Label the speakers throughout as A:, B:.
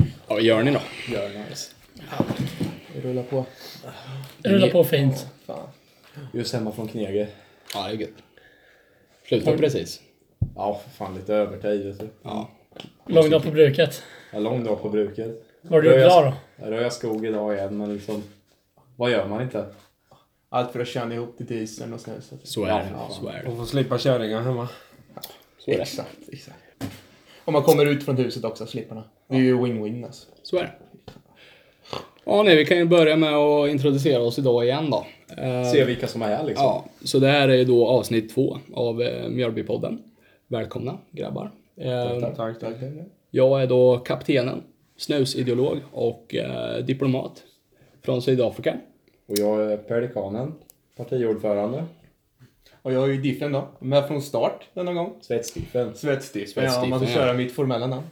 A: Ja, vad gör ni då?
B: Gör nice.
C: Rulla på.
D: Rulla på fint.
C: Fan.
B: Just hemma från Knege.
A: Ja, det är gött. Slutar precis.
B: Ja, för fan lite övertid vet du.
A: Ja.
D: Lång dag på bruket.
B: En lång dag på bruket.
D: Vad har du gjort
B: Ja, jag-
D: idag då?
B: Ja, Röja skog idag igen, men liksom... Vad gör man inte?
C: Allt för att tjäna ihop till dieseln och snuset.
A: Så är det. Så är det.
E: Och få slippa kärringar hemma.
A: Så är det.
C: Exakt, exakt. Om man kommer ut från huset också, slipparna. Det är ju win-win alltså.
A: Så är det. Ja, nej, vi kan ju börja med att introducera oss idag igen då. Eh,
B: Se vilka som är här liksom.
A: Ja, så det här är ju då avsnitt två av eh, Mjölbypodden. Välkomna grabbar. Eh,
E: Tack, tack.
A: Jag är då kaptenen, snusideolog och eh, diplomat från Sydafrika.
B: Och jag är Pelikanen, partiordförande,
C: Och jag är ju Diffen då. Med från start denna gång.
B: Svetsdiffen.
C: Svetsdiffen, ja.
A: Svetsdiffen,
C: Om man får
A: ja.
C: köra mitt formella namn.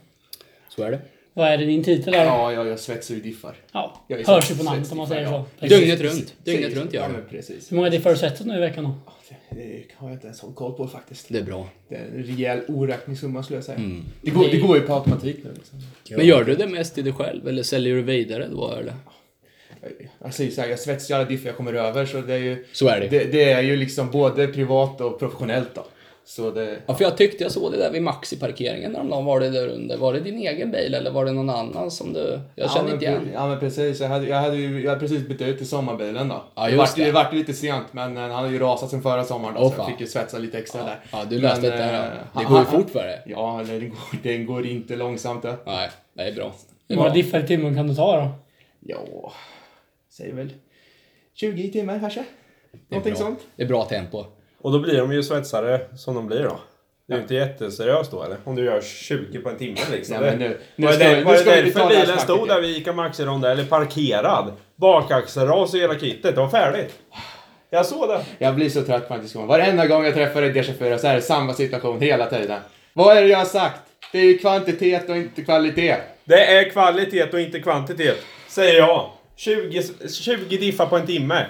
A: Så är det.
D: Vad är det din titel är?
C: Ja,
D: Ja.
C: ja, jag svetsar ju diffar.
D: ja.
C: Jag är
D: Hörs ju
C: svets-
D: på namnet om man säger så.
C: svetsdiffar,
D: Precis.
A: Dygnet runt. Dygnet runt
C: ja.
A: gör det.
C: men precis.
D: Hur många diffar har du sett nu i veckan då?
C: Det har jag inte ens hållit koll på faktiskt.
A: Det är bra.
C: Det är en rejäl oräknig summa skulle jag säga. Det, går, det
D: Det-
C: går ju på automatik nu liksom.
A: Men gör du det mest till dig själv eller säljer du vidare då eller?
C: Jag- Jag säger så här, jag svetsar ju alla diffar jag kommer över så det är ju...
A: Så är det.
C: Det, det är ju liksom både privat och professionellt då. Så det...
A: Ja, för jag tyckte jag såg det där vid Maxi-parkeringen häromdagen. Var det där under? Var det din egen bil eller var det någon annan som du... Jag känner
C: ja,
A: inte
C: men,
A: igen.
C: Ja men precis, jag hade, jag hade, ju, jag hade precis bytt ut till sommarbilen då.
A: Ja,
C: det,
A: just
C: vart,
A: det.
C: ju- det vart ju lite sent men eh, han hade ju rasat sen förra sommaren då,
A: Åh,
C: så jag
A: fan.
C: fick ju svetsa lite extra där.
A: Ja, du läste
C: Men,
A: det där.
C: eh,
A: ja. Det
C: han-
A: går ju
C: han-
A: fort för det.
C: Ja, eller det går, det går inte långsamt det.
A: Nej, det är bra. Det
D: Hur
A: är
D: många
A: bra.
D: diffar i timmen kan du ta då?
C: Ja, säger väl 20 timmar kanske.
A: Det är
C: Någonting
A: bra.
C: sånt.
A: Det är bra tempo.
E: Och då blir de ju svetsare som de blir då. Det är ju inte jätteseriöst då eller? Om du gör 20 på en timme liksom.
C: Nej, men nu- nu
E: var
C: ska
E: det,
C: vi-
E: var
C: nu
E: det
C: ska vi
E: därför
C: betala det här
E: bilen stod
C: snacket,
E: där vid Ica Maxi-rondell, eller parkerad? Bakaxelras och hela kittet, det var färdigt. Jag såg det.
C: Jag blir så trött faktiskt. Varenda gång jag träffar en D24 så är det samma situation hela tiden. Vad är det jag har sagt? Det är ju kvantitet och inte kvalitet.
E: Det är kvalitet och inte kvantitet, säger jag. 20, 20 diffar på en timme.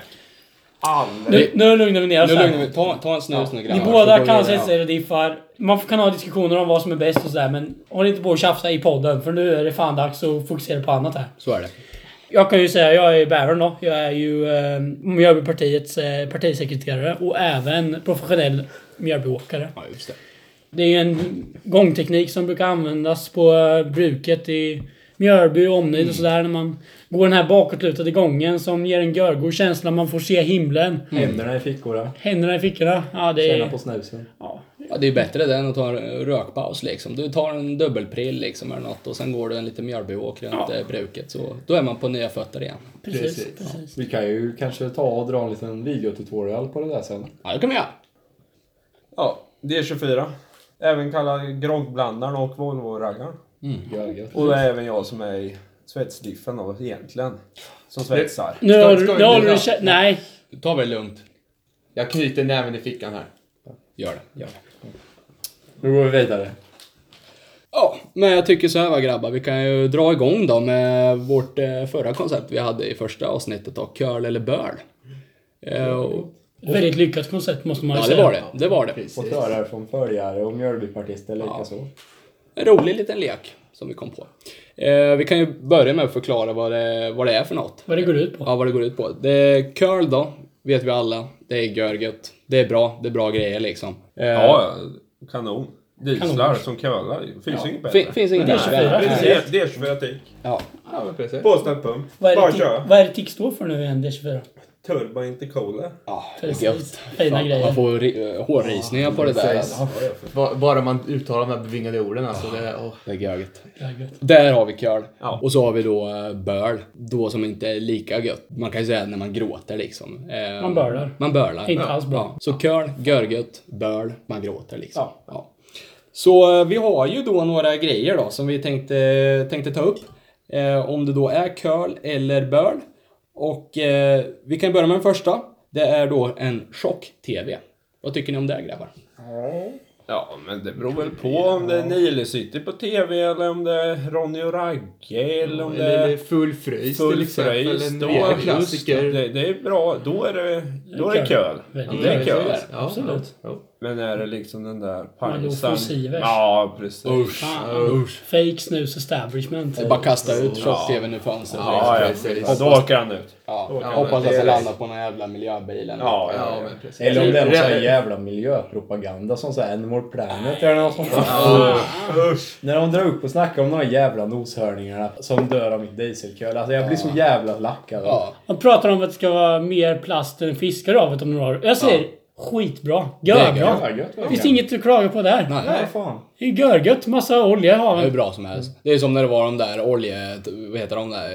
E: Aldrig.
D: Nu, nu lugnar vi ner oss
A: Nu lugnar
D: här.
A: vi Ta, ta en snus nu grabbar.
D: Ni
A: så
D: båda
A: går
D: kan
A: vi-
D: svetsa era diffar. Man kan ha diskussioner om vad som är bäst och sådär men håll inte på och tjafsa i podden för nu är det fan dags att fokusera på annat här.
A: Så är det.
D: Jag kan ju säga, jag är bäraren då. Jag är ju eh, Mjölbypartiets eh, partisekreterare och även professionell Mjölbyåkare.
A: Ja, just det.
D: Det är ju en gångteknik som brukar användas på eh, bruket i Mjölby och omnejd
A: Mm.
D: och sådär. När man går den här bakåtlutade gången som ger en görgod känsla. Man får se himlen.
B: Händerna i fickorna.
D: Händerna i fickorna. Ja, det
B: Tjäna
D: är...
B: på snusen.
D: Ja.
A: Ja, det är bättre det än att ta en rökpaus liksom. Du tar en dubbelprill liksom eller något och sen går du en liten mjölbyåk runt eh, bruket. Så då är man på nya fötter igen.
D: Precis, precis.
B: Vi kan ju kanske ta och dra en liten videotutorial på det där sen.
A: Ja, det kan man göra.
E: Ja, D24. Även kallad groggblandaren och Volvo-raggaren.
B: Gör det gött.
E: Och det är
C: Mm.
E: även jag som är i svetsdiffen då, egentligen. Som svetsar.
D: Nu
C: Ska-
D: har
C: ska
D: du...
C: vi
D: Nu har du...
C: bjuda?
D: kä- Nej.
A: Ta väl lugnt.
C: Jag knyter näven i fickan här.
A: Gör det. Gör det.
B: Nu går vi vidare.
A: Ja, men jag tycker så här va grabbar, vi kan ju dra igång då med vårt eh, förra koncept vi hade i första avsnittet då, curl eller burl. Eh,
D: Mm.
A: och,
D: Väldigt lyckat koncept måste man ju
A: ja, det
D: säga.
A: var det. Det var det.
B: Och törar från följare och mjölbypartister likaså.
A: En rolig liten lek som vi kom på. Eh, vi kan ju börja med att förklara vad det, vad det är för något.
D: Vad det går ut på.
A: Ja, vad det går ut på. Det, curl då, vet vi alla. Det är görgött. Det är bra. Det är bra grejer liksom. Eh,
E: Ja, kanon. Dieslar
D: Kanon.
E: som curlar. Finns inget
A: fin,
E: bättre.
A: finns inget värre.
E: Precis, D24 tik.
A: Ja,
C: Ja, men precis.
E: Påställd pump.
D: Vad är
E: Bara
D: det TIC-
E: köra.
D: vad är det TIC står för nu igen, D24?
E: Turbo intercooler.
A: ja
D: Precis.
A: gött.
D: Fina
A: Fan,
D: grejer.
A: Man får ri- eh, hårrysningar på det där.
C: Precis.
A: Alltså.
C: Ba- Bara man uttalar de här bevingade orden alltså. Det, åh.
A: Det är görgött.
D: Ja, gött.
A: Där har vi curl.
E: Ja.
A: Och så har vi då eh, börl. Då som inte är lika gött. Man kan ju säga när man gråter liksom. Eh,
D: Man börlar.
A: Man börlar.
D: Inte alls bra.
A: Ja. Så curl, görgött, börl, man gråter liksom. Ja. Så eh, vi har ju då några grejer då som vi tänkte, tänkte ta upp. Eh, om det då är curl eller börl. Och eh, vi kan börja med den första. Det är då en chock-TV. Vad tycker ni om det grabbar?
E: Ja, men det beror väl på om det är Nile City på TV eller om det är Ronny och Ragge eller om det
C: Eller det är
E: är
C: full fröjs till
E: Full
C: exempel.
E: Fröjs.
C: en
E: Då
C: rejäl
E: är just
C: klassiker.
E: det, det är bra. Då är det, då är det köl.
D: Väldigt
E: Det
D: bra.
E: är köl.
D: Absolut.
C: Ja, ja.
F: Men är det liksom den där
D: Malou
F: pangsan?
D: Sivers.
F: Ja, precis.
A: Usch.
D: Fan.
A: Usch.
D: Fake snus establishment.
A: Det är bara kasta ut Shop-TVn ur fönstret.
F: Ja, ja.
A: Precis.
F: ja, då åker han ut.
A: Ja,
F: Då kan
A: hoppas
F: man-
A: att
F: det
A: det
F: är
A: landar på den här jävla miljöbilen.
F: Ja, ja.
C: men precis.
E: Eller om det är någon
C: Rätt-
E: sån här jävla miljöpropaganda som så här Animal Planet eller något sånt.
F: Usch.
E: När de drar upp och snackar om de här jävla noshörningarna som dör av mitt dieselköl. Alltså jag blir så jävla lack av det.
A: Ja.
D: De pratar om att det ska vara mer plast än fiskar i havet om några år. Jag säger skitbra.
A: Det är
D: Görbra.
E: Ja, gött
D: Det
E: verkligen.
D: finns inget att klaga på där.
A: Nej.
E: Nej, fan.
D: Det är görgött. Massa olja i
A: Ja, hur
D: havet.
A: bra som helst. Det är som när det var de där olje... Vad heter de där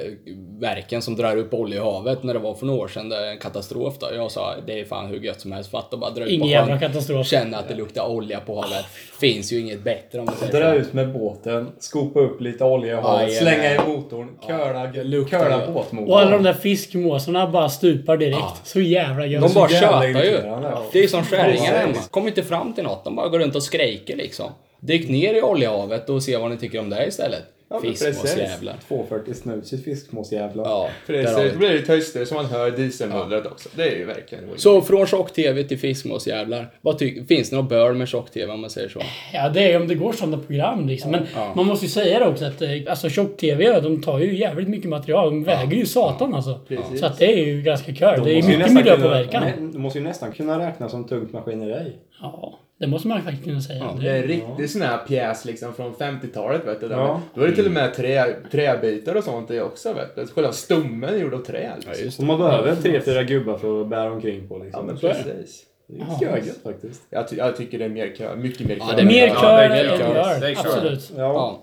A: verken som drar upp olja i havet när det var för några år sedan. Det är en katastrof då. Jag sa det är fan hur gött som helst. Fatta bara dra ut
D: Ingen
A: på
D: jävla
A: sjön.
D: katastrof.
A: Känna att det luktar olja på havet. Finns ju inget bättre om det säger
E: Dra
A: så.
E: ut med båten, skopa upp lite olja i havet,
A: Aj,
E: slänga i
A: ja.
E: motorn, curla,
A: luktar gött.
E: curla
D: Och alla de
E: båtmotorn.
D: där fiskmåsarna bara stupar direkt. Så jävla gött.
A: De bara
E: jävla
A: tjatar ju.
E: irriterande. Ja.
A: Det är som skäringar
E: Precis.
A: hemma. Kommer inte fram till något. De bara går runt och skrejker liksom. Dyk ner i oljehavet och se vad ni tycker om det istället.
E: Ja, men precis.
A: Fiskmåsjävlar.
E: 240 snus i fiskmåsjävlar.
A: Ja, där har vi
C: Precis,
A: det.
C: då blir det töster så man hör dieselmullret också. Det är ju verkligen
A: Så från tjock-tv till fiskmåsjävlar. Vad ty- Finns det något böl med tjock-tv om man säger så?
D: Ja, det är om det går sådana program liksom. Men man måste ju säga det också att eh, alltså, tjock-tv, de tar ju jävligt mycket material. De väger ju satan alltså.
C: Precis.
D: Så att det är ju ganska kul. Det
E: De
D: är
E: måste
D: mycket
E: ju nästan kunna-
D: miljöpåverkan.
E: Nej, De måste ju nästan kunna räknas som tungt maskineri.
D: Ja, det måste man faktiskt kunna säga.
A: Ja,
D: Det-
C: Det är en riktig sån här pjäs liksom från 50-talet vet du. Där.
E: Ja.
C: Då är det till och med trä, träbitar och sånt i också vet du. Själva stommen är gjord av trä liksom.
E: Och man behöver tre, fyra gubbar för att bära omkring på
C: Ja
E: liksom.
C: men precis.
E: Det är görgött faktiskt.
C: Jag, ty- jag tycker det är mer kö, mycket mer kö.
A: Ja, det
D: Det är mer
A: Ja,
D: kör
A: det är
D: än
A: kör.
F: Det är
D: gör.
F: kör.
D: Absolut.
E: Ja,
A: Ja.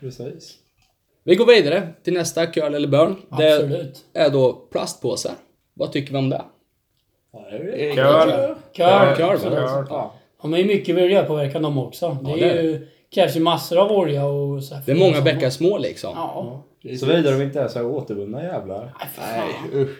E: precis.
A: Vi går vidare till nästa curl eller burn. Det
D: Absolut.
A: är då plastpåsar. Vad tycker vi om det?
E: Ja, det är det.
C: är-
F: Kör.
D: Kör.
A: Curl,
F: Absolut.
A: va?
E: Ja.
D: De är ju mycket miljöpåverkan de också. Det,
A: Ja, det är
D: är ju, krävs ju massor av olja och så här.
A: Det är många bäckar små liksom.
D: Ja.
C: Precis.
E: Såvida de inte är så här återvunna jävlar.
D: Nej, för
C: Nej,
D: fan.
C: usch.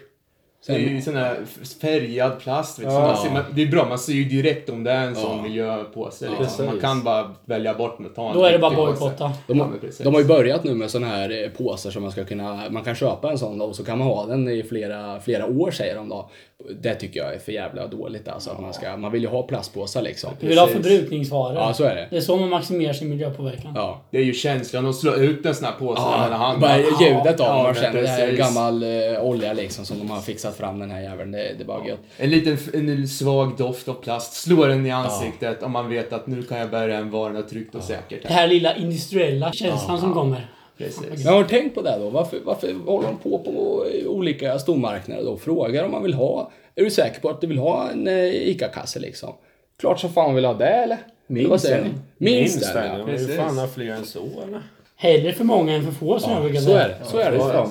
C: Det är ju sån här färgad plast. Vet du. Så Man ser, man, det är bra, man ser ju direkt om det är en sån
A: Ja.
C: miljöpåse.
E: Precis.
C: Liksom. Man kan bara välja bort med ta en
D: Då är det bara
C: riktig påse.
D: bojkotta.
A: De,
C: Ja,
A: har-
C: men precis.
A: de har ju börjat nu med såna här eh, påsar som man ska kunna... Man kan köpa en sån och så kan man ha den i flera, flera år säger de då. Det tycker jag är för jävla dåligt alltså. Att man, ska, man vill ju ha plastpåsar liksom.
D: Du vill ha
C: Precis.
D: förbrukningsvaror.
A: Ja, så är det.
D: Det är så man maximerar sin miljöpåverkan.
A: Ja.
C: Det är ju känslan att slå ut en sån här påse med mellan
A: Ja,
C: handen.
A: bara ljudet av
C: Ja,
A: dem. Man
C: men
A: känner det här är
C: precis.
A: gammal eh, olja liksom som de har fixat fram den här jäveln. Det, det är bara gött.
C: En liten en svag doft av plast slår en i ansiktet om man vet att nu kan jag bära en vara tryggt och säkert.
D: Det här lilla industriella känslan som kommer.
C: Precis.
A: Men har du tänkt på det då? Varför, varför håller de på på olika stormarknader då och frågar om man vill ha... Är du säker på att du vill ha en eh, ICA-kasse liksom? Klart som fan vill ha det eller? Eller vad säger ni? Minst,
F: Minst
A: den,
F: den.
A: ja.
F: ja. Vi
C: Precis.
F: fan har fler än så eller?
D: Hellre för många än för få som jag brukar
A: Så är
D: säga.
A: det. Så är det.
E: Ja, ja.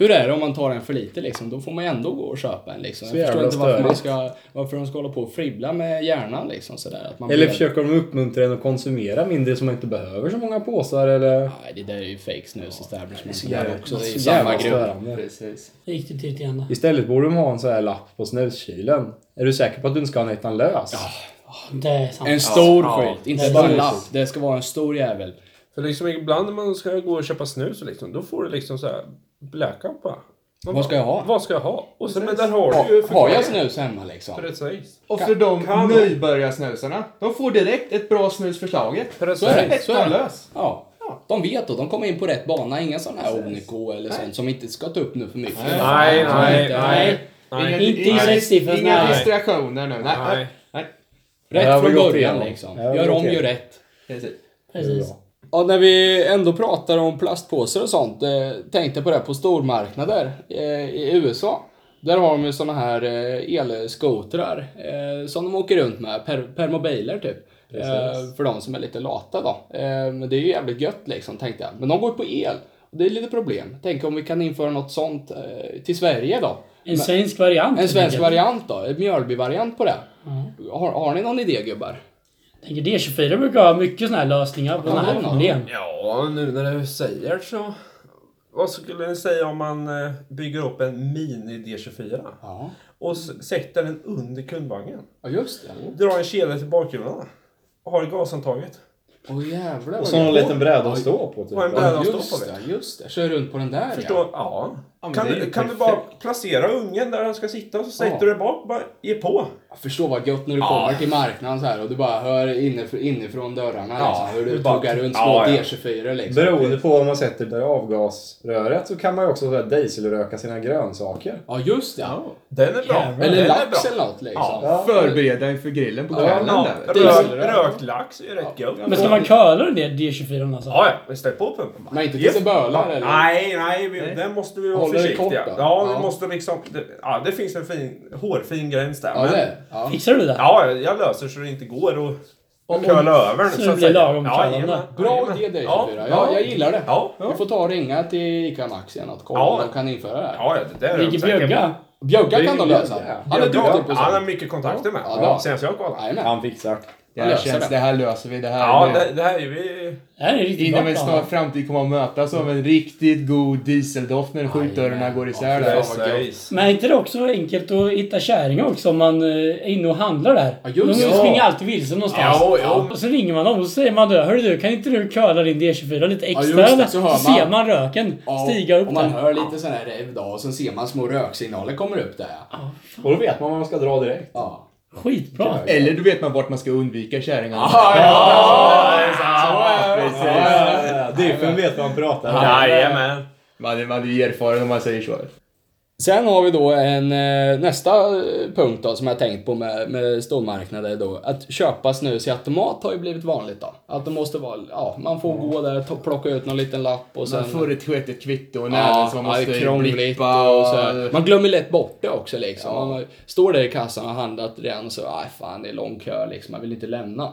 A: Hur är det om man tar en för lite liksom? Då får man ändå gå och köpa en liksom.
E: Så
A: Jag förstår
E: jävla
A: inte varför, man
E: störigt.
A: ska, varför de ska hålla på och fribbla med hjärnan liksom sådär. Att man
E: Eller
A: blir-
E: försöker de uppmuntra en att konsumera mindre så man inte behöver så många påsar eller?
A: Nej, det där är ju fake snus establishment. Det
E: jävla-
A: där också. Det är ju
E: så
A: samma
E: jävla
A: grupp.
E: störande.
C: Precis.
D: Riktigt irriterande.
E: Istället borde de ha en sån här lapp på snuskylen. Är du säker på att du inte ska ha en ettan lös?
D: Det är sant.
A: En stor
F: Ja.
A: skylt, inte
D: En
A: bara en
D: stor
A: lapp. Det ska vara en stor jävel.
F: För liksom ibland när man ska gå och köpa snus liksom, då får du liksom så här blackout bara. Man
A: Vad ska jag ha?
F: Vad ska jag ha? Och sen, men där har du ju
A: Ha- Har jag snus hemma liksom?
F: Precis.
C: Och för de
F: kan-
C: nybörjarsnusarna, de får direkt ett bra snus förslaget.
A: Så är det.
C: Rätt
A: Så är det.
C: lös.
A: Ja. De vet då, de kommer in på rätt bana. Inga sådana här Omnico eller sånt som inte ska ta upp nu för mycket.
F: Nej,
A: Som
F: nej,
A: inte-
F: nej. nej.
D: Inte i
C: inga-
D: sexsiffrorna.
C: Inga
D: Nej.
C: distraktioner nu. Nej.
F: Nej.
E: Jag
A: Rätt
E: har
A: från
E: gått
A: början
E: igenom.
A: liksom.
E: Jag har
A: Gör
E: gått
A: om, gör
E: igenom.
A: rätt.
C: Precis.
D: Precis.
A: Ja, när vi ändå pratar om plastpåsar och sånt, eh, tänkte på det här på stormarknader eh, i USA. Där har de ju såna här eh, elskotrar eh, som de åker runt med, per, permobiler typ. Eh, för de som är lite lata då. Eh, men det är ju jävligt gött liksom, tänkte jag. Men de går ju på el. Och det är lite problem. Tänk om vi kan införa något sånt eh, till Sverige då.
D: En svensk variant.
A: En svensk
D: Jag
A: variant då, en Mjölby-variant på det. Har, har ni någon idé gubbar?
D: tänker D24 brukar ha mycket sådana här lösningar på sådana här
A: ja.
D: problem.
F: Ja, nu när du säger så. Vad skulle ni säga om man eh, bygger upp en mini D24?
A: Ja,
F: Och s- sätter den under kundvagnen.
A: ja just det.
F: Drar en kedja till bakgrunden. Och har gasantaget.
A: Åh jävlar vad
E: Och så har de en
A: gött.
E: liten bräda att stå på. Typ.
F: Och en
E: Ja.
F: bräda att stå
A: Just
F: på. vet
A: det, just det. Kör runt på den där
F: Förstår,
A: ja.
F: ja.
A: men
F: Kan,
A: det är ju
F: du, kan du bara
A: perfekt.
F: placera ungen där han ska sitta och så sätter
A: Ja.
F: du dig bak bara ge på.
A: Jag förstår vad gött när du kommer till marknaden så här och du bara hör inifrån, inifrån dörrarna
F: Ja,
A: liksom, hur du
F: du bara-
A: tuggar runt små
F: Ja, ja.
A: D24 liksom.
E: Beroende på vad man sätter där i avgasröret så kan man ju också så här dieselröka sina grönsaker.
A: Ja, just det. Ja.
F: Den är bra.
E: Jävlar.
F: Den
A: Eller
F: är
A: lax
F: bra.
A: eller något liksom.
E: Ja.
C: Förbereda inför grillen på
A: Ja,
C: kvällen
F: Ja,
C: där.
F: rök,
A: Dieselröra.
F: rökt lax är ju rätt gött.
D: Men ska man curla den där D24 alltså?
F: Ja, ja. Men ställ på pumpen bara.
A: Men inte tills det bölar eller?
F: Nej, nej, vi, den måste vi vara
A: Håller det
F: försiktiga.
A: kort då?
F: ja, vi
A: Ja.
F: måste liksom... Det, ja, det finns en fin, hårfin gräns där.
A: Ja,
F: men,
A: det är det. Ja.
D: Fixar du det?
F: ja, jag löser så det inte går att
A: Om-
F: köla över den.
D: så det
F: att
D: blir
F: säga.
D: lagom kallande.
F: jajamän,
A: Bra
F: jajamän.
A: idé D24.
F: Ja,
A: Ja,
F: ja.
A: jag gillar det.
F: Ja,
A: Du får ta och ringa till ICA Maxi eller något. Kolla
F: Ja.
A: om de kan införa det här.
F: ja, det där är
D: Ligger
F: de säkra på.
D: Bjugga?
A: Bjugga kan de
E: Bjugga.
A: lösa. Han är duktig på
F: Han har
A: sånt.
F: mycket kontakter med.
A: Ja, det har han.
F: Senast jag kollade.
A: Jajamän.
E: Han fixar.
C: Det
A: Ja,
C: här
A: löser
C: känns,
A: det.
C: det här löser vi. Det här
F: Ja,
C: är-
F: det, det här är vi...
D: Det här är riktigt
C: Inom en
D: bra
C: snar
D: plan.
C: framtid kommer man mötas av en riktigt god dieseldoft när skjutdörrarna
A: Jajamän.
C: går
A: Ja,
C: isär där.
A: precis. vad gött.
D: Men är inte det också enkelt att hitta kärringar också om man eh, är inne och handlar där?
A: Ja, just
D: de
A: det.
D: springer alltid vilse någonstans.
F: Ja, ja.
D: Och så ringer man dem och så säger man då, Hörru du, kan inte du curla din D24 lite
A: just
D: extra?
A: det,
D: eller?"
A: så hör
D: så ser
A: man.
D: man röken
A: Ja,
D: stiga upp
A: och man
D: där.
A: hör lite sån här rev då och sen ser man små röksignaler kommer upp där. Ja.
E: Och då vet man vad man ska dra direkt.
A: Ja.
D: Skitbra.
C: Eller då vet man vart man ska undvika kärringarna.
E: Precis. Ja, Diffen vet vad han pratar om.
F: Jajamän.
C: Man, är- man är ju erfaren om man säger så.
A: Sen har vi då en eh, nästa eh, punkt då, som jag tänkt på med, med stormarknader då. Att köpa snus i automat har ju blivit vanligt då. Att det måste vara, ja, man får gå där, ta, plocka ut någon liten lapp och sen...
C: Man får ett skötet kvitto och
A: Ja,
C: näven som man
A: ja, det är
C: måste
A: krångligt
C: blippa
A: och så här. Man glömmer lätt bort det också liksom. Man står där i kassan och har handlat redan och så, aj fan det är lång kö liksom, man vill inte lämna.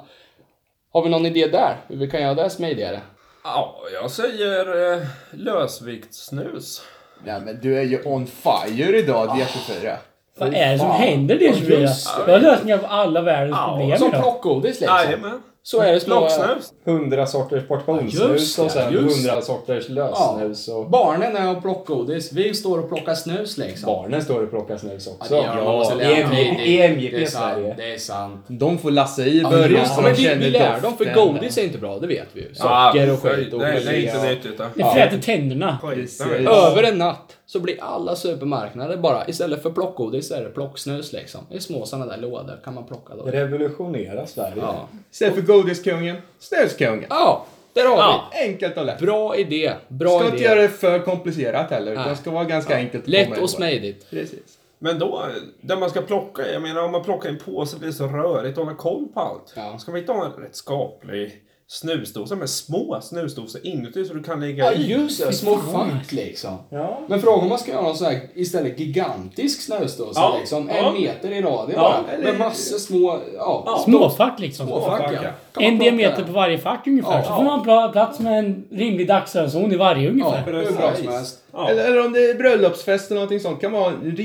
A: Har vi någon idé där? Hur vi kan göra det smidigare?
F: Ja, jag säger eh, lösviktssnus.
C: Nej men du är ju on fire idag
A: Ah.
C: D24.
D: Vad är det som händer D24? Vi har lösningar på alla världens
F: Ja,
D: problem
A: Som
D: idag.
A: plockgodis liksom.
F: Jajamän.
A: Så är det små...
F: Blocksnus.
E: Hundra sorters
A: Ja, just
E: portionssnus
A: det,
E: och sen
A: just
E: hundra sorters
A: Ja.
E: lössnus. Och
A: Barnen är och plockgodis, vi står och plockar snus liksom.
E: barnen står och plockar snus också.
A: Ja, det gör man. Måste lära
F: E
A: sig.
E: EMJ
A: det är
E: EMJ
A: sant.
E: Sverige.
A: Det är sant.
C: De får lassa i i
A: Ja,
C: början
A: just
C: så
A: det,
C: de
A: men vi,
C: känner
A: vi lär dem, för
C: doften.
A: godis är inte bra, det vet vi ju. Socker och skit och
F: Nej, det är
A: skit.
F: inte nyttigt. då.
D: Det fräter tänderna.
F: Skiten.
A: Över en natt så blir alla supermarknader bara, istället för plockgodis så är det plocksnus liksom. I små sådana där lådor kan man plocka då.
E: Revolutionera Sverige.
A: Ja,
C: Istället för godiskungen, snuskungen.
A: ja där har
F: Ja.
C: Enkelt och lätt.
A: vi. Bra idé. Bra
C: Ska inte
A: idé.
C: göra det för komplicerat heller,
A: Nej.
C: utan ska vara ganska enkelt. att komma
A: Lätt
C: ihåg.
A: och smidigt.
C: Precis.
F: Men då, där man ska plocka, jag menar om man plockar i en påse blir det så rörigt att hålla koll på allt.
A: Ja.
F: Ska man inte ha en rätt skaplig snusdosa med små snusdosor inuti så du kan lägga
A: Ja,
F: i?
A: just det. Små fack liksom.
E: Ja.
A: Men fråga om man ska göra någon sån här istället gigantisk snösdåse
F: Ja.
A: liksom.
F: Ja.
A: En meter i radie
F: Ja,
A: bara. Med massor små, ja.
D: Småfack liksom.
A: Småfack, ja.
F: Småfack,
A: Kan man
D: En
A: plocka
D: diameter
A: där.
D: på varje fack ungefär.
A: Ja.
D: Så får man pla- plats med en rimlig dagslönszon i varje
A: Ja,
D: ungefär.
A: hur bra som helst.
F: Ja.
C: Eller, eller om det är bröllopsfest eller någonting sånt, kan man ha en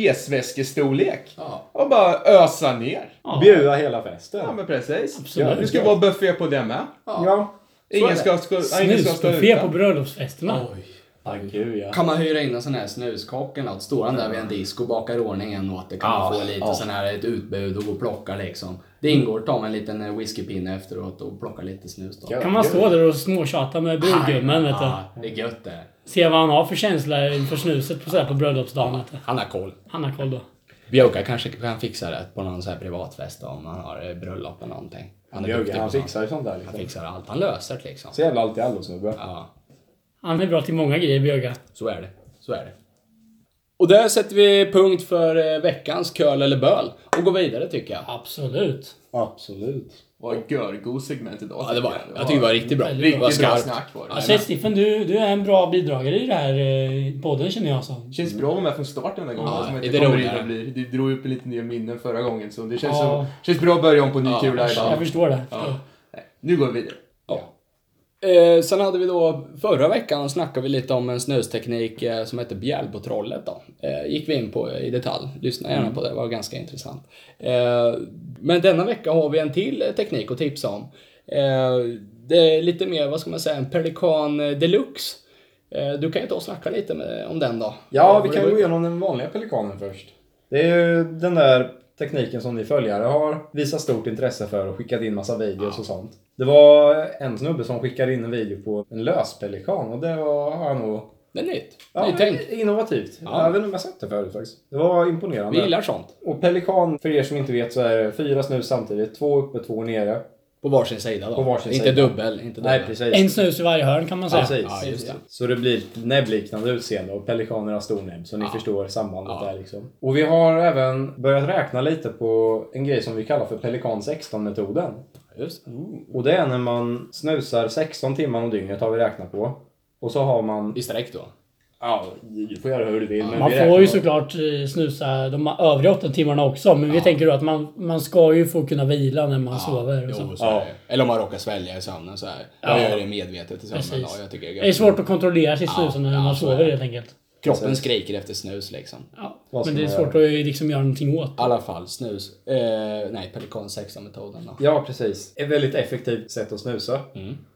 C: resväskestorlek.
A: Ja.
C: Och bara ösa ner.
E: Bjuda hela festen.
C: Ja men precis.
D: Absolut.
C: Det ska vara buffé på det med.
E: Ja.
C: Ingen ska, ska, ingen ska stå
D: Snusbuffé på
C: utan.
D: bröllopsfesterna.
E: Ah, gud ja.
A: Kan man hyra in en sån här snuskock eller något? Står han där vid en disco och bakar ordning en åt det kan man få lite sån här ett utbud och gå och plocka liksom. Det ingår, ta med en liten eh, whiskypinne efteråt och plocka lite snus då.
D: Kan man stå där och småtjata med brudgummen vet du.
A: Ja, det är gött det.
D: Se vad han har för känsla inför snuset på, så här, på bröllopsdagen vet du.
A: Han har koll.
D: Han har koll då.
A: Björka kanske kan fixa det på någon sån här privatfest då, om han har eh, bröllop eller någonting. Han är
E: Bjögge,
A: duktig på
E: han
A: sånt.
E: fixar ju sånt där
A: Han
E: liksom.
A: fixar allt. Han löser det liksom.
E: Så jävla allt-i-allo-snubbe.
A: Ja,
D: Han är bra till många grejer Björga.
A: så är det. Så är det. Och där sätter vi punkt för eh, veckans köl eller böl och går vidare tycker jag.
D: Absolut.
E: Absolut.
C: Vad görgod segment idag.
A: Ja, det var
C: tycker
A: Jag tycker det var riktigt bra.
D: Riktigt
A: Det var
C: Riktigt bra
A: skarpt.
C: snack var det.
D: Jag säger Stiffen, du, du är en bra bidragare i det här eh, podden känner jag så.
C: Det känns bra att vara med från start den här gången.
A: Ja,
C: som
A: är
C: inte
A: det
C: kommer
A: roligare?
C: in och blir. Du drog upp lite nya minnen förra gången så det känns, som,
D: Ja.
C: känns bra att börja om på ny
A: Ja,
C: kula
D: Jag
C: idag.
D: förstår det.
C: Nu går vi vidare.
A: Eh, sen hade vi då, förra veckan snackade vi lite om en snusteknik eh, som heter bjälbotrollet då. Eh, gick vi in på i detalj. Lyssna gärna på det, det var ganska intressant. Eh, men denna vecka har vi en till eh, teknik att tipsa om. Eh, det är lite mer, vad ska man säga, en pelikan eh, deluxe. Eh, du kan ju ta och snacka lite med, om den då.
E: Ja, vi
A: Vad
E: kan
A: det-
E: gå igenom den vanliga pelikanen först. Det är ju den där tekniken som ni följare har visat stort intresse för och skickat in massa videos och sånt. Det var en snubbe som skickade in en video på en löspelikan och det var, har jag nog...
A: Det är nytt.
E: Ja,
A: Nytt tänk.
E: innovativt.
A: Ja.
E: Jag vet inte om jag sett det förut faktiskt. Det var imponerande.
A: Vi gillar sånt.
E: Och pelikan, för er som inte vet, så är det fyra snus samtidigt. Två uppe, två nere.
A: På varsin sida då.
E: På varsin
A: inte
E: sida.
A: dubbel. Inte dubbel.
E: Nej, precis.
D: En snus i varje hörn kan man säga.
E: Precis.
A: Ja, just det.
E: Så det blir ett näbbliknande utseende och pelikaner har stor näbb. Så ni förstår sambandet där liksom. Och vi har även börjat räkna lite på en grej som vi kallar för pelikan 16-metoden.
A: Just det.
E: Och det är när man snusar 16 timmar om dygnet har vi räknat på. Och så har man...
A: I sträck då.
E: Ja, du får göra hur du vill. men
D: Man
E: vi
D: får
E: räknar-
D: ju såklart eh, snusa de övriga åtta timmarna också. Men vi tänker då att man, man ska ju få kunna vila när man sover. Och så.
A: Jo, så är det. Eller om man råkar svälja i sömnen så här. Jag
D: Ja.
A: gör det medvetet i sömnen.
D: Precis.
A: Ja, jag tycker det är
D: Det är
A: gött.
D: svårt att kontrollera sitt
A: Ja,
D: snusande när
A: ja,
D: man
A: så är
D: sover
A: det.
D: helt enkelt.
A: Kroppen skriker efter snus liksom.
D: Ja,
E: Vad ska
D: men det är
E: man
D: svårt att liksom göra någonting åt.
A: I alla fall snus. Eh, nej, Pelikan 16-metoden då.
E: Ja, precis. Ett väldigt effektivt sätt att snusa.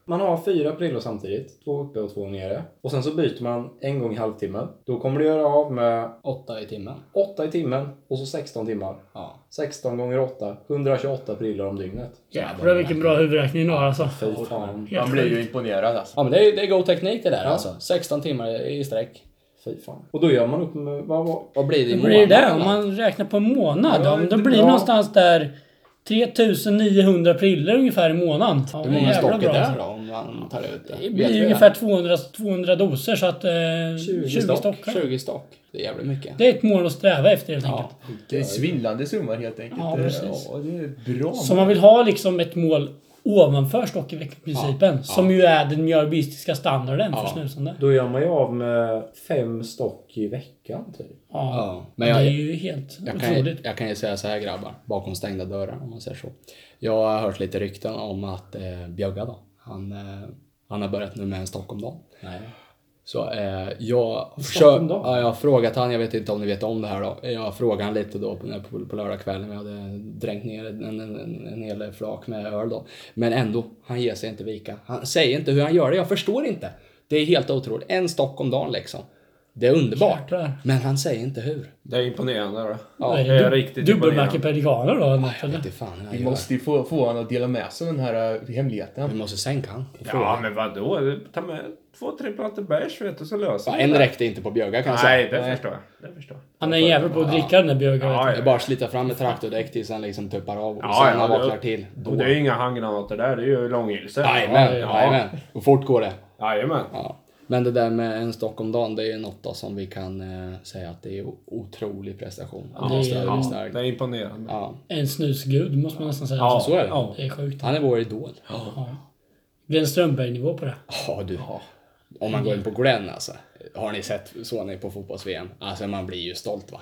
E: Man har fyra prillor samtidigt. Två uppe och två nere. Och sen så byter man en gång i halvtimmen. Då kommer du göra av med
A: Åtta i timmen.
E: 8 i timmen och så 16 timmar.
A: Ja.
E: 16 gånger 8, 128 prylar om dygnet.
D: Jävlar vilken bra huvudräkning du har alltså.
E: Fy fan.
D: Helt
C: Man blir ju imponerad alltså.
A: Ja men det är, det är god teknik det där alltså. 16 timmar i sträck.
E: Fy fan. Och då gör man upp med... Vad var...
A: Vad blir det i
D: Vad blir det där?
A: månaden
D: Om
A: då?
D: man räknar på en månad?
E: Ja,
D: Ja, men då
E: det
D: blir det
E: bra.
D: någonstans där 3900 prillor ungefär i månaden. Ja,
A: Hur många
D: jävla
A: stockar
D: bra.
A: det är då om man tar ut det?
D: Det
A: Vet vi
D: blir ungefär 200, 200 doser så att... Eh, 20, 20
E: stock.
D: stockar.
A: 20 stock. Det är jävligt mycket.
D: Det är ett mål att sträva efter helt
A: Ja.
D: enkelt.
C: Det är svindlande summor helt enkelt.
D: Ja, precis.
C: Ja, det är bra.
D: Så man vill ha liksom ett mål ovanför stock i veckan-principen. Som ju är den mjölbistiska standarden för snusande.
E: Då gör man ju av med fem stock i veckan typ.
D: Ja.
A: Ja. Men
D: det är
A: jag,
D: ju helt
A: jag, kan, ju-
D: otroligt.
A: jag kan ju säga så här grabbar. Bakom stängda dörrar om man säger så. Jag har hört lite rykten om att eh, Bjögga då. Han, eh, han har börjat nu med en stock om dagen.
E: Nej.
A: Så eh, jag,
E: om
A: försö-
E: dagen?
A: ja, jag har frågat han, jag vet inte om ni vet om det här då. Jag frågade han lite då på, på, på lördagskvällen. Vi hade dränkt ner en, en, en, en hel flak med öl då. Men ändå, han ger sig inte vika. Han säger inte hur han gör det, jag förstår inte. Det är helt otroligt. En stock om dagen liksom. Det är underbart.
D: Jäklar.
A: Men han säger inte hur.
F: Det är imponerande. Då.
D: Vad är
F: det är
D: dub-
F: riktigt
D: Dubbelmärke
F: imponerande.
D: pelikaner då? eller något,
A: Jag
D: eller?
A: vet inte fan hur han
C: Vi
A: gör.
C: måste ju få, få honom att dela med sig av den här eh,
A: Vi
C: hemligheten.
A: måste sänka han. och
F: Ja,
A: fråga.
F: men vadå? Ta med två, tre plattor bärs vet du, så löser
A: Ja,
F: vi
A: en
F: det.
A: räckte inte på Bjöga kan jag säga.
F: Nej, det förstår jag. Det förstår jag.
D: Han är en jävel på att dricka den där björken.
F: Ja,
A: Det är bara att slita fram ett traktordäck tills han liksom tuppar av. Och
F: Ja,
A: sen
F: ja,
A: han
F: det-
A: vaknar till. Då.
F: Och det är ju inga handgranater där, det är ju långhylsor.
A: Jajamän,
F: ja.
A: jajamän. Och fort går det.
F: Jajamän.
A: Ja. Men det där med en stock om dagen, det är ju något då som vi kan eh, säga att det är o- otrolig prestation. Ja, det är
D: ja.
F: Det
A: starkt.
F: är imponerande.
A: Ja.
D: En snusgud måste man nästan säga.
F: Ja,
A: så är det.
F: Ja.
D: Det är sjukt.
A: Han är vår idol.
D: Glenn Strömberg-nivå på det.
A: Ja, du. Om man går in på Glenn alltså. Har ni sett Sony på fotbolls-VM? Alltså man blir ju stolt va?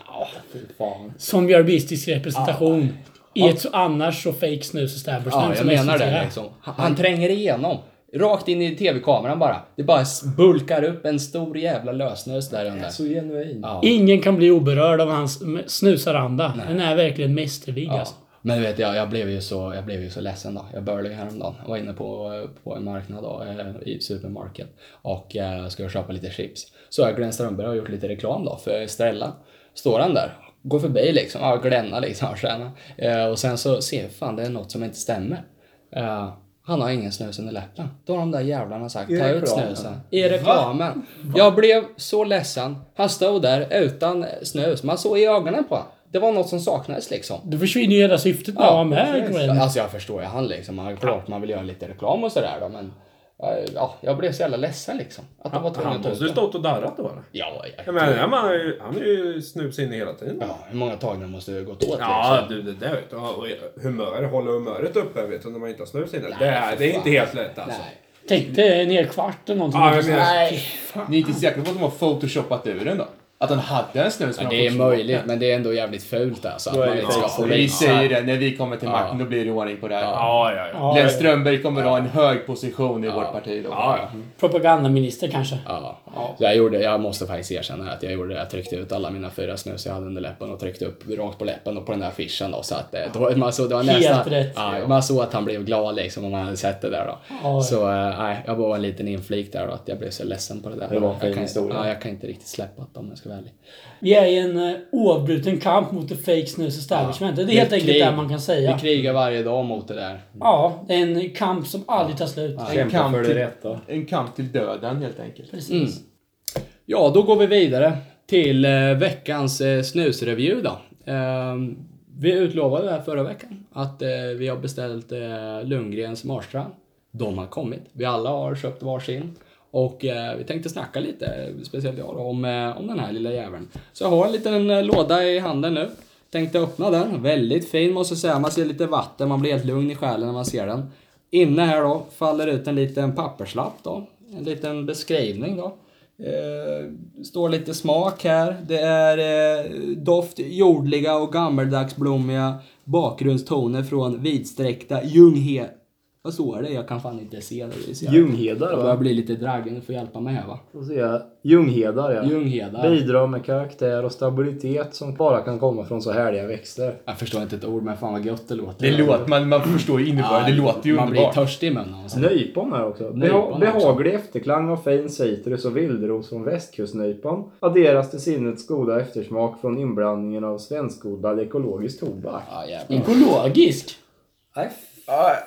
E: Fan.
D: Som björnbistisk representation. I ett så annars så fake snus och stabbers
A: Ja, jag menar det liksom. Han, han tränger igenom. Rakt in i tv-kameran bara. Det bara s- bulkar upp en stor jävla lösnös där under.
E: Så genuin.
A: Ja.
D: Ingen kan bli oberörd av hans m- snusaranda. Den är verkligen mästerlig
A: Ja.
D: alltså.
A: Men du vet jag, jag, blev ju så, jag blev ju så ledsen då. Jag började häromdagen. Jag var inne på, eh, på en marknad då, eh, i supermarket och eh, skulle köpa lite chips. Så jag Glenn Strömberg har gjort lite reklam då för Estrella. Står han där, går förbi liksom, ja, Glenna liksom, ja, tjena. Eh, och sen så ser jag fan det är något som inte stämmer. Eh, han har ingen snus under läppen. Då har de där jävlarna sagt, ta ut
E: reklamen?
A: snusen. I reklamen. Jag blev så ledsen. Han stod där utan snus. Man såg i ögonen på honom. Det var något som saknades liksom.
D: Då försvinner ju hela syftet med att vara med Glenn.
A: Alltså jag förstår ju han liksom. Han, klart man vill göra lite reklam och sådär då men. eh, Ja, jag blev så jävla ledsen liksom. Att de var tvungna
F: Han
A: att ta ut
F: måste ju
A: det.
F: stått och darrat då eller?
A: Ja,
F: Jag
A: jag,
F: menar, den här mannen har ju- han är ju snus inne hela tiden.
A: ja, hur många tagningar måste det gått åt
F: Ja,
A: liksom?
F: du, det där vet du. Och humör, hålla humöret uppe vet du, när man inte har snus inne. Det är, det är inte helt lätt alltså.
A: Nej.
D: Tänk dig en hel kvart eller någonting.
F: Ja, jag menar,
A: Nej.
C: Ni är inte säkra på att de har photoshopat ur den då? Att han hade en snus men
A: Ja,
C: han
A: det är
C: photoshopat
A: möjligt men det är ändå jävligt fult alltså. Att
E: är
A: man
E: det
A: inte ska
E: fake
A: få
C: den. Vi
A: visa.
C: säger det, när vi kommer till makten då blir det ordning på det här.
F: ja, ja, ja.
C: Glenn Strömberg kommer att ha en hög position i vårt parti då.
D: Propagandaminister kanske.
A: Ja. Så jag, gjorde, jag måste faktiskt erkänna att jag gjorde det. Jag tryckte ut alla mina fyra snus jag hade under läppen och tryckte upp rakt på läppen och på den där affischen då. Så att eh, då, man såg, det var
D: Helt
A: nästan,
D: rätt.
A: Ja, man såg att han blev glad liksom om han hade sett det där då.
D: Ja.
A: Så eh, nej, jag var en liten inflik där då att jag blev så ledsen på det där.
E: Det var en fin
A: jag kan,
E: historia.
A: Ja, jag kan inte riktigt släppa det om jag ska ärlig.
D: Vi är i en eh, oavbruten kamp mot the fake snus establishment. Det är helt
A: Det är
D: enkelt
A: krig.
D: det man kan säga.
A: Vi krigar varje dag mot det där.
D: Ja, det är en kamp som aldrig tar slut.
E: Kämpa för det rätta.
C: En kamp till döden helt enkelt.
D: Precis.
A: Mm. Ja, då går vi vidare till eh, veckans eh, snusreview då. Eh, vi utlovade det här förra veckan att eh, vi har beställt eh, Lundgrens Marstrand. De har kommit. Vi alla har köpt varsin. Och eh, vi tänkte snacka lite, speciellt jag då, om, eh, om den här lilla jäveln. Så jag har en liten eh, låda i handen nu. Tänkte öppna den. Väldigt fin måste jag säga. Man ser lite vatten, man blir helt lugn i själen när man ser den. Inne här då faller ut en liten papperslapp då. En liten beskrivning då. Eh, står lite smak här. Det är eh, doft jordliga och gammeldagsblommiga bakgrundstoner från vidsträckta Ljunghe... Vad står det? Jag kan fan inte se det. det. är så jävla-
E: Ljunghedar
A: jag börjar
E: va?
A: bli lite dragen, du får hjälpa mig här va.
E: Då ser jag Ljunghedar ja.
A: Ljunghedar.
E: Bidrar med karaktär och stabilitet som bara kan komma från så härliga växter.
A: Jag förstår inte ett ord men fan vad gött det låter.
C: Det låter, man, man förstår ju innebörden. Det låter ju
A: Man blir
C: underbart.
A: törstig i munnen. alltså.
E: Nypon här också.
A: Nypon
E: Beha-
A: också.
E: behaglig efterklang av fin citrus och vildros från västkustnypon adderas till sinnets goda eftersmak från inblandningen av svenskodlad ekologisk tobak.
A: Ja, jävlar.
D: Ekologisk?
E: Nej,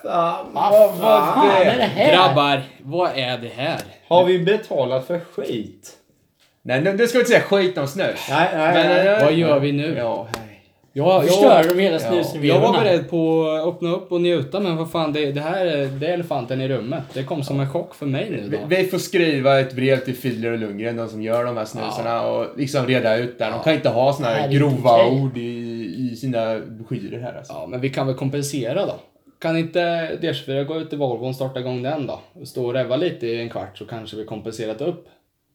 D: Vad fan är det här?
A: Grabbar, vad är det här?
E: Har vi betalat för skit?
C: Nej, nej, det ska vi inte säga skit om snus.
E: Nej, nej,
C: Men,
E: nej.
C: eh,
A: Vad gör vi nu?
C: Ja,
A: Jag,
D: Förstör
A: jag,
D: de hela
A: jag var
D: snusrevyerna?
A: beredd på att öppna upp och njuta men vad fan, det, det här är, det är elefanten i rummet. Det kom som en chock för mig nu
C: vi,
A: då.
C: vi får skriva ett brev till Fiddler och Lundgren, de som gör de här snusarna, och liksom reda ut det. här. De kan inte ha såna
D: Det här
C: här
D: är inte
C: grova
D: okej.
C: ord i, i sina broschyrer här alltså.
A: Ja, men vi kan väl kompensera då. Kan inte D24 gå ut till Volvon och starta igång den då? Stå och reva lite i en kvart så kanske vi kompenserat upp.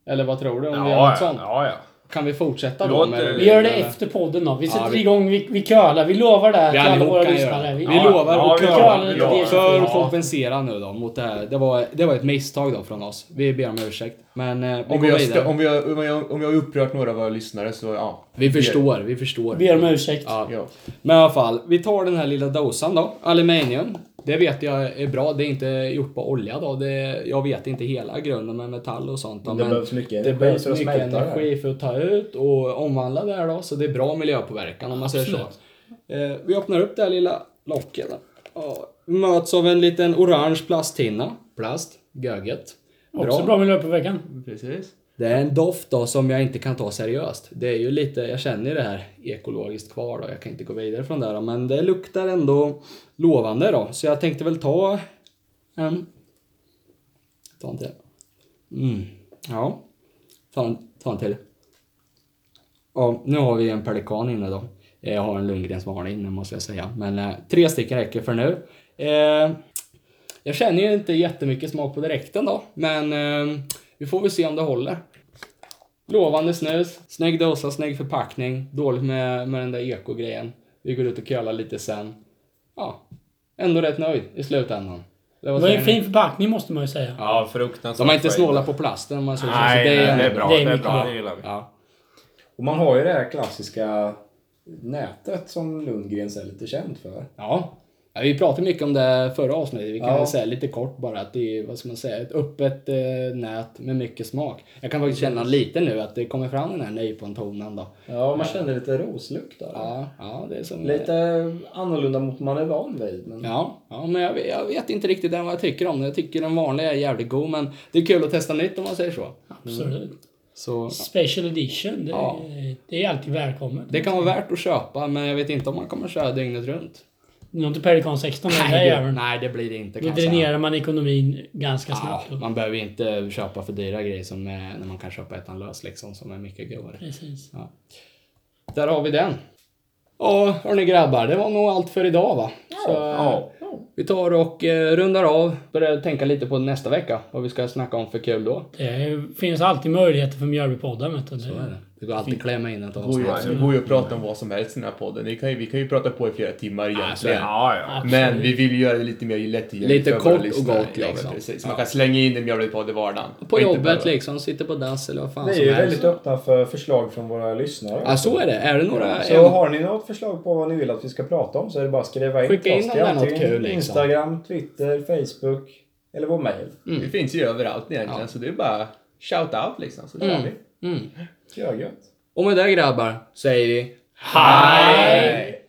A: Eller vad tror du om vi gör något sånt?
F: ja, ja.
A: Kan vi fortsätta då?
F: Låter-
A: med-
D: Vi gör det efter podden då. Vi sätter
A: vi-
D: igång, vi, vi curlar. Vi lovar det här
A: Vi
D: till alla
A: allihop
D: våra
A: kan göra
D: lyssnare.
A: det.
D: Vi,
A: Vi
F: Ja,
A: lovar
F: ja,
A: och
F: vi
D: lovar
A: curlar
D: det. Ja.
A: för att
F: Ja.
A: kompensera nu då mot det här. Det var, det var ett misstag då från oss. Vi ber om ursäkt. Men eh, vi
C: Om
A: går
C: jag,
A: vidare.
C: stö- om, jag, om, jag, om jag har upprört några av våra lyssnare så ja.
A: Vi förstår, vi förstår.
D: ber om ursäkt.
A: Ja.
C: ja.
A: Men i alla fall, vi tar den här lilla dosan då. Aluminium. Det vet jag är bra. Det är inte gjort på olja då. Det, jag vet inte hela grunden med metall och sånt. Då,
E: Det
A: men
E: behövs mycket
A: det
E: energi
A: behövs
E: för att
A: mycket
E: smälta det här.
A: energi för att ta ut och omvandla det här då. Så det är bra miljöpåverkan om man säger så. Eh, vi öppnar upp det här lilla locket. Ja, möts av en liten orange plasthinna. Plast. Göget.
D: Också bra miljöpåverkan.
C: Precis.
A: Det är en doft då som jag inte kan ta seriöst. Det är ju lite, jag känner ju det här ekologiskt kvar då, jag kan inte gå vidare från det då, men det luktar ändå lovande då. Så jag tänkte väl ta en... Ta en till. Mm. Ja. Ta en, ta en till. Ja, nu har vi en pelikan inne då. Eh, Jag har en Lundgren som har den inne måste jag säga. Men eh, tre stycken räcker för nu. Eh, jag känner ju inte jättemycket smak på direkten då, men eh, vi får väl se om det håller. Lovande snus, snygg dosa, snygg förpackning, dåligt med, med den där ekogrejen. Vi går ut och kölar lite sen. Ja, ändå rätt nöjd i slutändan. Det
D: Det
A: var
D: var ju en fin förpackning måste man ju säga.
F: Ja, fruktansvärt.
A: De är inte
F: skit.
A: snåla på plasten om man säger så. så
F: Nej, nej, det är bra.
D: det är
F: Det är
D: mycket
F: bra.
D: bra.
F: Det gillar vi.
A: Ja.
E: Och man har ju det här klassiska nätet som Lundgrens är lite känd för.
A: Ja. ja. Vi pratade mycket om det förra avsnittet. Vi kan
E: Ja.
A: väl säga lite kort bara att det är, vad ska man säga, ett öppet eh, nät med mycket smak. Jag kan faktiskt känna lite nu att det kommer fram den här nypontonen då.
E: Ja, man känner lite roslukt där.
A: Ja, ja det är som...
E: Lite annorlunda mot man är van vid. Men...
A: Ja, ja men jag, jag vet inte riktigt än vad jag tycker om den. Jag tycker den vanliga är jävligt god men det är kul att testa nytt om man säger så.
D: Absolut.
A: Så
D: Special edition. Det,
A: Mm. Ja.
D: det är alltid välkommet.
A: det kan vara värt att köpa men jag vet inte om man kommer köra dygnet runt.
D: Nu har inte Pelikan 16 den där
A: Nej, det,
D: jäveln.
A: nej, det blir det inte
D: Då
A: kan jag säga.
D: dränerar man ekonomin ganska
A: Ja,
D: snabbt. då.
A: Ah, man behöver ju inte köpa för dyra grejer som eh, när man kan köpa ettan lös liksom som är mycket grovare.
D: Precis.
A: Där har vi den. Ja, hörni grabbar, det var nog allt för idag va? Så, eh,
F: Ja.
A: Vi tar och eh, rundar av, börjar tänka lite på nästa vecka, vad vi ska snacka om för kul då.
D: Det är- finns alltid möjligheter för Mjölbypodden vet du. Det-
A: Det går alltid att klämma in ett
C: Det går
A: avsnitt.
C: ju- Det går ju att prata om vad som helst i den här podden. Vi kan ju, vi kan ju prata på i flera timmar egentligen.
F: Ja, ja.
D: Absolut.
C: Men vi vill ju göra det lite mer lättillgängligt
A: Lite
C: för våra
A: kort och
C: lyssnare.
A: gott,
C: Ja, men
A: liksom.
C: Precis. Man kan slänga in en mjölkpodd i vardagen.
A: På
C: Och inte
A: jobbet
C: bara-
A: liksom, sitter på dass eller vad fan
E: Vi är
A: som
E: ju
A: helst.
E: väldigt öppna för förslag från våra lyssnare.
A: Ja, så är det. Är det några...
E: Så har ni något förslag på vad ni vill att vi ska prata om så är det bara att skriva in
A: Skicka
E: till oss.
A: in om
E: Det är
A: det är något
E: antingen
A: kul, liksom.
E: Instagram, Twitter, Facebook eller vår mail.
A: Mm.
C: Det finns ju överallt egentligen, så det är bara shout out liksom, så kör vi.
A: Mm.
E: Görgött.
A: Och med det grabbar säger vi Hej!